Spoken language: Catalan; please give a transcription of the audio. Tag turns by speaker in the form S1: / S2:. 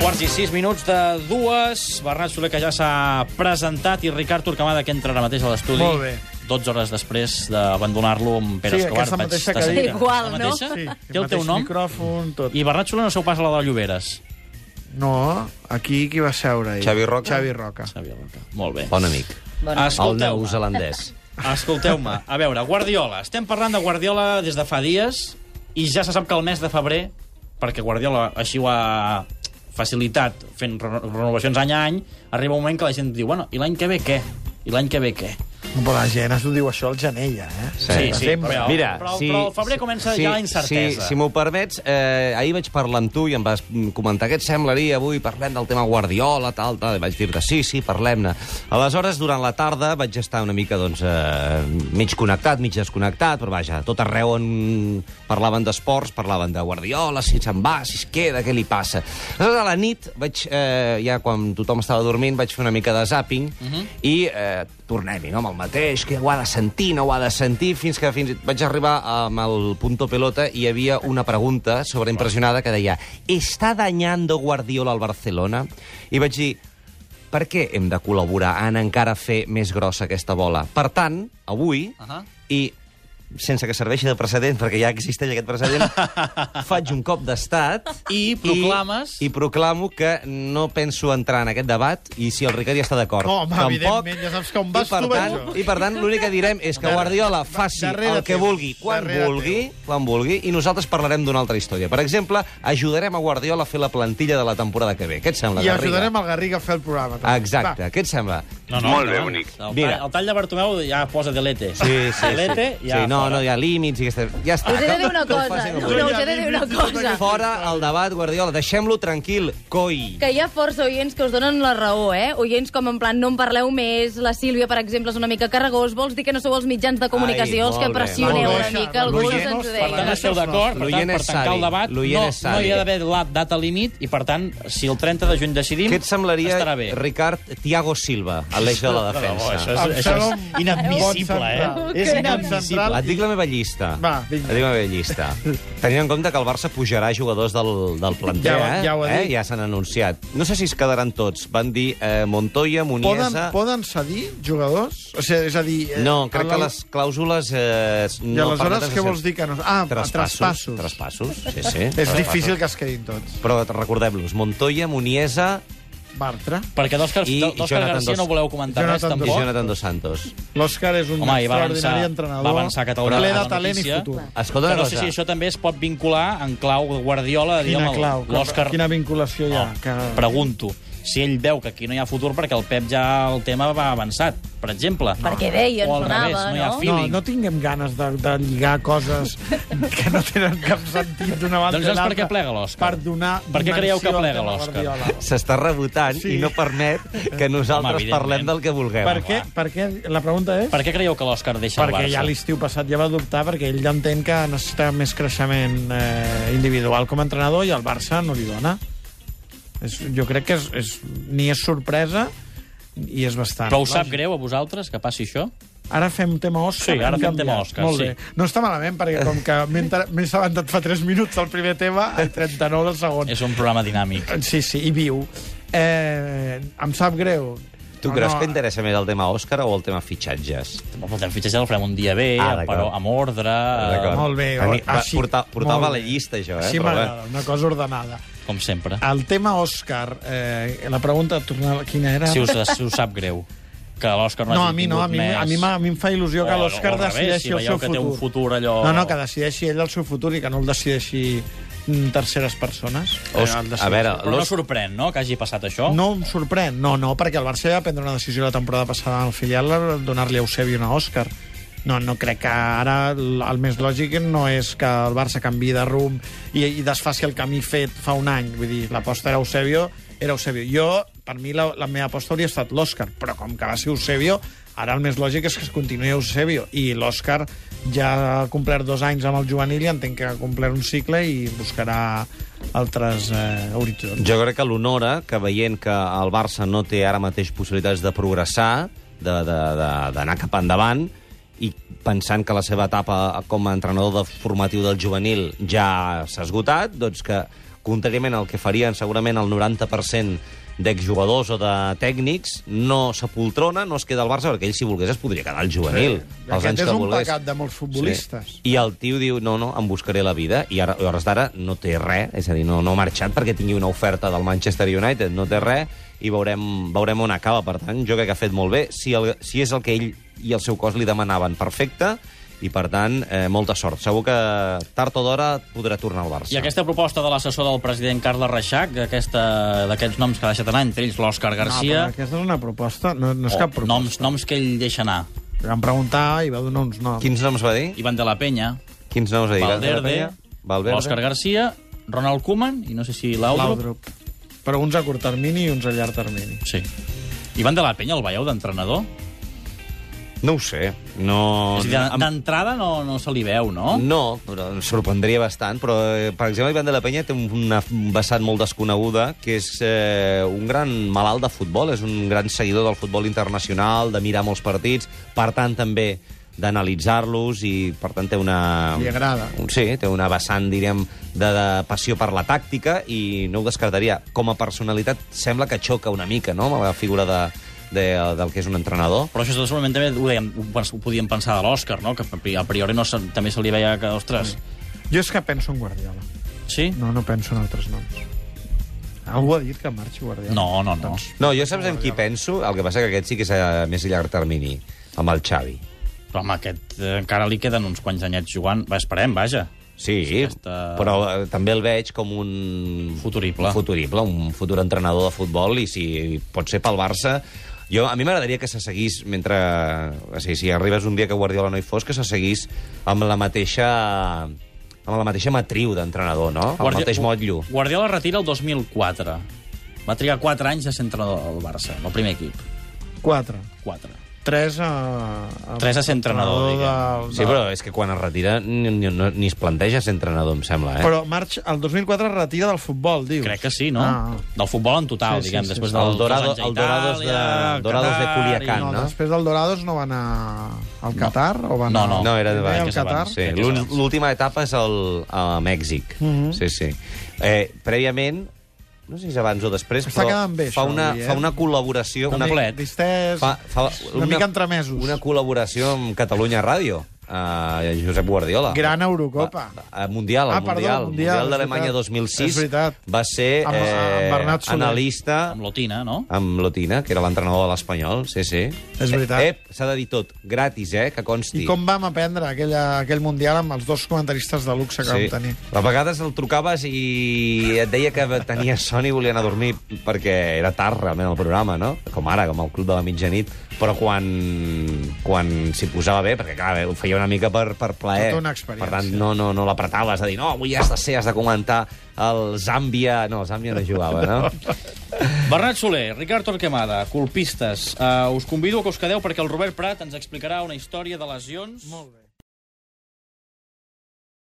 S1: quarts i sis minuts de dues. Bernat Soler, que ja s'ha presentat, i Ricard Turcamada, que entra ara mateix a l'estudi.
S2: Molt bé.
S1: 12 hores després d'abandonar-lo amb Pere
S2: Sí,
S1: Escobar.
S2: aquesta
S1: Vaig
S2: mateixa
S1: de seguida.
S2: cadira.
S3: Igual,
S1: La
S3: no?
S1: mateixa?
S2: Sí,
S1: Té el teu nom?
S2: micròfon, tot. I...
S1: I Bernat Soler no seu pas a la de Lloberes.
S2: No, aquí qui va seure ell?
S4: Xavi Roca?
S2: Xavi Roca.
S1: Xavi Roca. doncs, Molt bé.
S4: Bon amic. El
S1: Escolteu-me,
S4: neozelandès.
S1: escolteu-me. A veure, Guardiola. Estem parlant de Guardiola des de fa dies i ja se sap que el mes de febrer, perquè Guardiola així ho ha facilitat fent reno- renovacions any a any, arriba un moment que la gent diu, bueno, i l'any que ve què? I l'any que ve què?
S2: No, però la gent es diu això al genella, eh?
S1: Sí, sí,
S2: sempre.
S1: però, però, però el febrer comença ja la incertesa.
S4: Si, si m'ho permets, eh, ahir vaig parlar amb tu i em vas mm, comentar què et semblaria avui, parlem del tema Guardiola, tal, tal, i vaig dir-te sí, sí, parlem-ne. Aleshores, durant la tarda vaig estar una mica, doncs, eh, mig connectat, mig desconnectat, però vaja, a tot arreu on parlaven d'esports, parlaven de Guardiola, si se'n va, si es queda, què li passa. Aleshores, a la nit, vaig, eh, ja quan tothom estava dormint, vaig fer una mica de zapping uh
S1: Mhm.
S4: -huh. i eh, tornem-hi, no?, amb el mateix, que ho ha de sentir, no ho ha de sentir, fins que fins vaig arribar amb el punto pelota i hi havia una pregunta sobreimpressionada que deia «Està dañando Guardiola al Barcelona?» I vaig dir «Per què hem de col·laborar en encara fer més grossa aquesta bola?» Per tant, avui, uh
S1: Ahà.
S4: -huh. i sense que serveixi de precedent, perquè ja existeix aquest precedent, faig un cop d'estat...
S1: I proclames...
S4: I, I proclamo que no penso entrar en aquest debat i si el Ricard hi està d'acord.
S2: Home,
S4: tampoc.
S2: evidentment, ja saps que on vas
S4: I per
S2: tu,
S4: tant,
S2: vaig jo.
S4: I per tant, l'únic que direm és que Guardiola faci
S2: darrere
S4: el que
S2: teu,
S4: vulgui, quan
S2: darrere
S4: vulgui, quan vulgui, i nosaltres parlarem d'una altra història. Per exemple, ajudarem a Guardiola a fer la plantilla de la temporada que ve. Què et sembla,
S2: I
S4: Garriga?
S2: ajudarem al Garriga a fer el programa. també.
S4: Exacte, què et sembla?
S1: No, no, Molt bé, bonic. El, tall,
S4: Mira.
S1: el tall de Bartomeu ja posa delete.
S4: Sí, sí, sí.
S1: Delete, ja
S4: sí no,
S1: fora.
S4: no, hi ha límits i aquestes... Ja està.
S3: Us he de dir una
S4: Que ho
S3: cosa.
S4: facin com
S3: No,
S4: vulguin.
S3: no, us he de dir una cosa.
S4: Fora el debat, Guardiola. Deixem-lo tranquil, coi.
S3: Que hi ha força oients que us donen la raó, eh? Oients com en plan, no en parleu més, la Sílvia, per exemple, és una mica carregós, vols dir que no sou els mitjans de comunicació
S4: Ai,
S3: els que
S4: molt bé,
S3: pressioneu
S2: molt bé.
S3: una mica, algú us
S2: L'oient
S3: ens ho
S1: Per tant,
S3: deia.
S1: esteu d'acord, per tant,
S4: L'oient
S1: per
S4: és
S1: tancar
S4: savi.
S1: el debat, no,
S4: L'oient és
S1: no hi
S4: savi.
S1: ha d'haver la data límit, i per tant, si el 30 de juny decidim,
S4: Què et semblaria,
S1: estarà bé.
S4: Ricard, Tiago Silva, a l'eix de la
S1: No, no,
S4: defensa?
S1: això
S2: Em
S1: és, això
S2: sembla
S1: és
S2: un bon
S1: inadmissible, eh?
S2: central.
S3: eh?
S2: És
S3: Un
S2: inadmissible.
S4: Et dic la meva llista.
S2: Va, vinga.
S4: Et dic la meva llista. Tenint en compte que el Barça pujarà jugadors del, del planter,
S2: Ja ho-
S4: eh?
S2: ja ho ha
S4: eh?
S2: dit.
S4: ja s'han anunciat. No sé si es quedaran tots. Van dir eh, Montoya,
S2: Poden,
S4: Muniesa...
S2: poden cedir jugadors? O sigui, és a dir... eh,
S4: No, crec
S2: a
S4: que
S2: la-
S4: les clàusules... Eh, s-
S2: I
S4: no
S2: aleshores
S4: permeten
S2: què
S4: fer-
S2: vols dir que no... Ah, traspassos.
S4: Traspassos. Traspassos, sí, sí.
S2: És
S4: traspassos.
S2: difícil que es quedin tots.
S4: Però recordem-los, Montoya, Muniesa
S2: Bartra.
S1: Perquè d'Òscar
S4: I- i
S1: d'Òscar
S4: Jonathan
S1: García
S4: Dos.
S1: no voleu comentar res,
S2: Jonathan
S4: i
S2: Dos.
S1: tampoc.
S4: Jonathan Dos Santos.
S2: L'Òscar és un
S1: Home, i va
S2: extraordinari
S1: avançar-
S2: entrenador.
S1: va avançar que t'haurà
S2: Ple
S1: de
S2: de
S1: la
S2: talent
S1: notícia.
S2: i futur.
S4: Escolta
S1: Que no
S4: una cosa.
S1: sé si això també es pot vincular en clau de Guardiola, diguem,
S2: Quina
S1: el-
S2: clau, que-
S1: l'Òscar...
S2: quina vinculació hi ha.
S1: No,
S2: Que...
S1: Pregunto si ell veu que aquí no hi ha futur perquè el Pep ja el tema va avançat, per exemple.
S3: Perquè deien,
S1: O al
S3: sonava,
S1: revés, no hi ha
S3: no?
S1: fi.
S2: No,
S1: feeling.
S2: no tinguem ganes de, de lligar coses que no tenen cap sentit d'una banda
S1: Doncs
S2: i
S1: saps
S2: l'altra
S1: per què plega l'Òscar?
S2: Per donar
S1: Per què creieu que
S2: dimensió al
S1: plega
S2: tema
S1: l'Òscar?
S2: Guardiola.
S4: s'està rebotant
S2: Sí.
S4: sí. i no permet que nosaltres
S1: Home,
S4: Home, parlem
S1: evidentment.
S4: del que vulguem.
S2: Per què? Per què? La pregunta és...
S1: Per què creieu que l'Òscar deixa
S2: perquè
S1: el Barça?
S2: ja l'estiu passat ja va dubtar perquè ell ja entén que necessita més creixement eh, individual com a entrenador i el Barça no li dona és, jo crec que és, és, ni és sorpresa i és bastant
S1: Però us sap
S2: lògic.
S1: greu a vosaltres que passi això?
S2: Ara fem tema Òscar.
S1: Sí, ara
S2: hem
S1: fem
S2: canviat.
S1: tema Òscar,
S2: Molt
S1: sí.
S2: bé. No està malament, perquè com que m'he enter- m'he assabentat fa 3 minuts del primer tema, el 39 del segon.
S1: És un programa dinàmic.
S2: Sí, sí, i viu. Eh, em sap greu.
S4: Tu
S2: No,
S4: creus
S2: no,
S4: que interessa més el tema Òscar o el tema fitxatges?
S1: El fitxatge el farem un dia bé,
S4: Ah, d'acord.
S1: però amb ordre... eh,
S2: molt bé,
S4: A mi, va,
S2: així-
S4: porta, portava
S2: molt
S4: la
S2: bé.
S4: llista, jo, eh?
S2: Així
S4: però bé.
S2: m'agrada, una cosa ordenada.
S1: Com sempre.
S2: El tema Òscar, eh, la pregunta tornar, quina era?
S1: Si us, si us sap greu que l'Òscar no,
S2: no, a
S1: hagi
S2: mi no, a
S1: tingut
S2: mi,
S1: més...
S2: a mi, m'ha- a mi em fa il·lusió que
S1: O- o
S2: l'Òscar
S1: al revés,
S2: decideixi
S1: si
S2: el seu
S1: veieu que té un futur allò-
S2: No, no, que decideixi ell el seu futur i que no el decideixi mm, terceres persones.
S4: Os-
S2: Eh, el
S4: a veure,
S1: Però no sorprèn, no?, que hagi passat això.
S2: No em sorprèn, no, no, perquè el Barça ja va prendre una decisió la temporada passada en el filial de donar-li a Eusebi una Òscar. No, no crec que ara l- el més lògic no és que el Barça canvi de rumb i, i desfaci el camí fet fa un any. Vull dir, l'aposta era Eusebio, era Eusebio. Jo, per mi, la, la meva aposta hauria estat l'Òscar, però com que va ser Eusebio, ara el més lògic és que es continuï Eusebio. I l'Òscar ja ha complert dos anys amb el juvenil i entenc que ha complert un cicle i buscarà altres eh, horitzons.
S4: Jo crec que l'honora que veient que el Barça no té ara mateix possibilitats de progressar, de- de- de- d'anar cap endavant, i pensant que la seva etapa com a entrenador de formatiu del juvenil ja s'ha esgotat, doncs que contràriament al que farien segurament el 90% d'exjugadors o de tècnics, no s'apoltrona, no es queda al Barça, perquè ell, si volgués, es podria quedar al juvenil.
S2: Sí.
S4: els
S2: Aquest
S4: anys
S2: és
S4: que
S2: un
S4: volgués.
S2: pecat de molts futbolistes.
S4: I el tio diu, no, no, em buscaré la vida, i ara, a hores d'ara no té res, és a dir, no, no ha marxat perquè tingui una oferta del Manchester United, no té res, i veurem, veurem on acaba. Per tant, jo crec que ha fet molt bé. Si, el, si és el que ell i el seu cos li demanaven, perfecte, i per tant, eh, molta sort. Segur que tard o d'hora podrà tornar al Barça.
S1: I aquesta proposta de l'assessor del president Carles Reixac, aquesta- d'aquests noms que ha deixat anar, entre ells l'Òscar Garcia,
S2: No, Ah, però aquesta és una proposta, no, no és
S1: o
S2: cap proposta.
S1: noms, noms que ell deixa anar.
S2: Li Vam preguntar i va donar uns noms.
S4: Quins noms va dir?
S1: Ivan de la Penya,
S4: Quins noms va dir?
S1: Valverde,
S4: Valverde.
S1: Òscar Garcia, Ronald Koeman, i no sé si Laudrup.
S2: Laudrup. Però uns a curt termini i uns a llarg termini.
S1: Sí. Ivan de la Penya, el veieu d'entrenador?
S4: No ho sé. No...
S1: És a dir,
S4: em-
S1: D'entrada no, no se li veu, no?
S4: No, però em sorprendria bastant, però, eh, per exemple, Ivan de la Penya té una vessant molt desconeguda, que és eh, un gran malalt de futbol, és un gran seguidor del futbol internacional, de mirar molts partits, per tant, també d'analitzar-los i, per tant, té una...
S2: Li agrada.
S4: Un- Sí, té una vessant, diríem, de, de passió per la tàctica i no ho descartaria. Com a personalitat sembla que xoca una mica, no?, amb la figura de, de, del que és un entrenador.
S1: Però això segurament també ho, dèiem, ho, pens- ho podíem pensar de l'Òscar, no? Que a priori no se, també se li veia que, ostres...
S2: Jo és que penso en Guardiola.
S1: Sí?
S2: No, no penso en altres noms. Algú ha dit que marxi Guardiola?
S1: No, no, no.
S4: No, jo saps en qui penso? El que passa que aquest sí que és a més llarg termini, amb el Xavi.
S1: Però home, aquest eh, encara li queden uns quants anyets jugant. Va, esperem, vaja.
S4: Sí,
S1: està-
S4: però eh, també el veig com un...
S1: Futurible.
S4: Un futurible, un futur entrenador de futbol, i si pot ser pel Barça... Jo, a mi m'agradaria que se seguís, mentre... O sigui, si arribes un dia que Guardiola no hi fos, que se seguís amb la mateixa amb la mateixa matriu d'entrenador, no? Amb el mateix motllo.
S1: Guardiola es retira el 2004. Va trigar 4 anys de ser entrenador al Barça, el primer equip.
S2: Quatre.
S1: 4.
S2: Tres a... a
S1: Tres a ser entrenador,
S2: entrenador
S4: Sí, però és que quan es retira ni, ni, no- ni es planteja ser entrenador, em sembla, eh?
S2: Però March, el 2004 es retira del futbol, dius?
S1: Crec que sí, no?
S2: Ah.
S1: Del futbol en total,
S2: Sí, sí,
S1: diguem,
S2: sí,
S1: després
S2: sí.
S1: del
S4: El Dorado-
S1: dels anys a
S4: el Dorados de-
S1: Itàlia,
S4: Dorados de
S1: Qatar
S4: Culiacán,
S2: No,
S4: no?
S2: no, després del Dorados no va anar al Qatar? O va anar...
S1: No,
S4: No, era de
S2: Primer
S4: baix.
S2: al
S4: que
S1: s'abans,
S2: Qatar?
S4: Sí,
S1: crec que
S4: l'un-
S1: s'abans.
S4: l'última etapa és el, a Mèxic.
S2: Mhm.
S4: Sí, sí. Eh, prèviament, no sé si és abans o després,
S2: Està
S4: però
S2: quedant bé,
S4: fa,
S2: això,
S4: una,
S2: avui, eh?
S4: fa una col·laboració...
S1: Una
S4: Una,
S1: mica- bolet.
S2: Distès,
S4: fa, fa
S2: una, mica entremesos.
S4: Una col·laboració amb Catalunya Ràdio, eh, Josep Guardiola.
S2: Gran Eurocopa.
S4: Va, a, mundial, al
S2: Ah, perdó,
S4: Mundial.
S2: Mundial,
S4: mundial d'Alemanya
S2: és veritat.
S4: 2006.
S2: És veritat.
S4: Va ser eh,
S2: Amb- amb Bernat Soler.
S4: analista
S1: Amb l'Otina, no?
S4: amb Lotina, que era l'entrenador de l'Espanyol, sí, sí.
S2: És veritat.
S4: Ep, s'ha de dir tot, gratis, eh, que consti.
S2: I com vam aprendre aquella, aquell Mundial amb els dos comentaristes de luxe que sí. vam tenir?
S4: A vegades el trucaves i et deia que tenia son i volia anar a dormir perquè era tard realment el programa, no? Com ara, com el Club de la Mitjanit. Però quan, quan s'hi posava bé, perquè clar, ho feia una mica per, per plaer.
S2: Tota una experiència.
S4: Per tant, no, no, no l'apretaves a dir, no, avui has de ser, has de comentar el Zàmbia... No, el Zàmbia no jugava, no?
S1: Bernat Soler, Ricard Torquemada, Eh, colpistes. Uh, us convido a que us quedeu perquè el Robert Prat ens explicarà una història de lesions...
S2: Molt bé.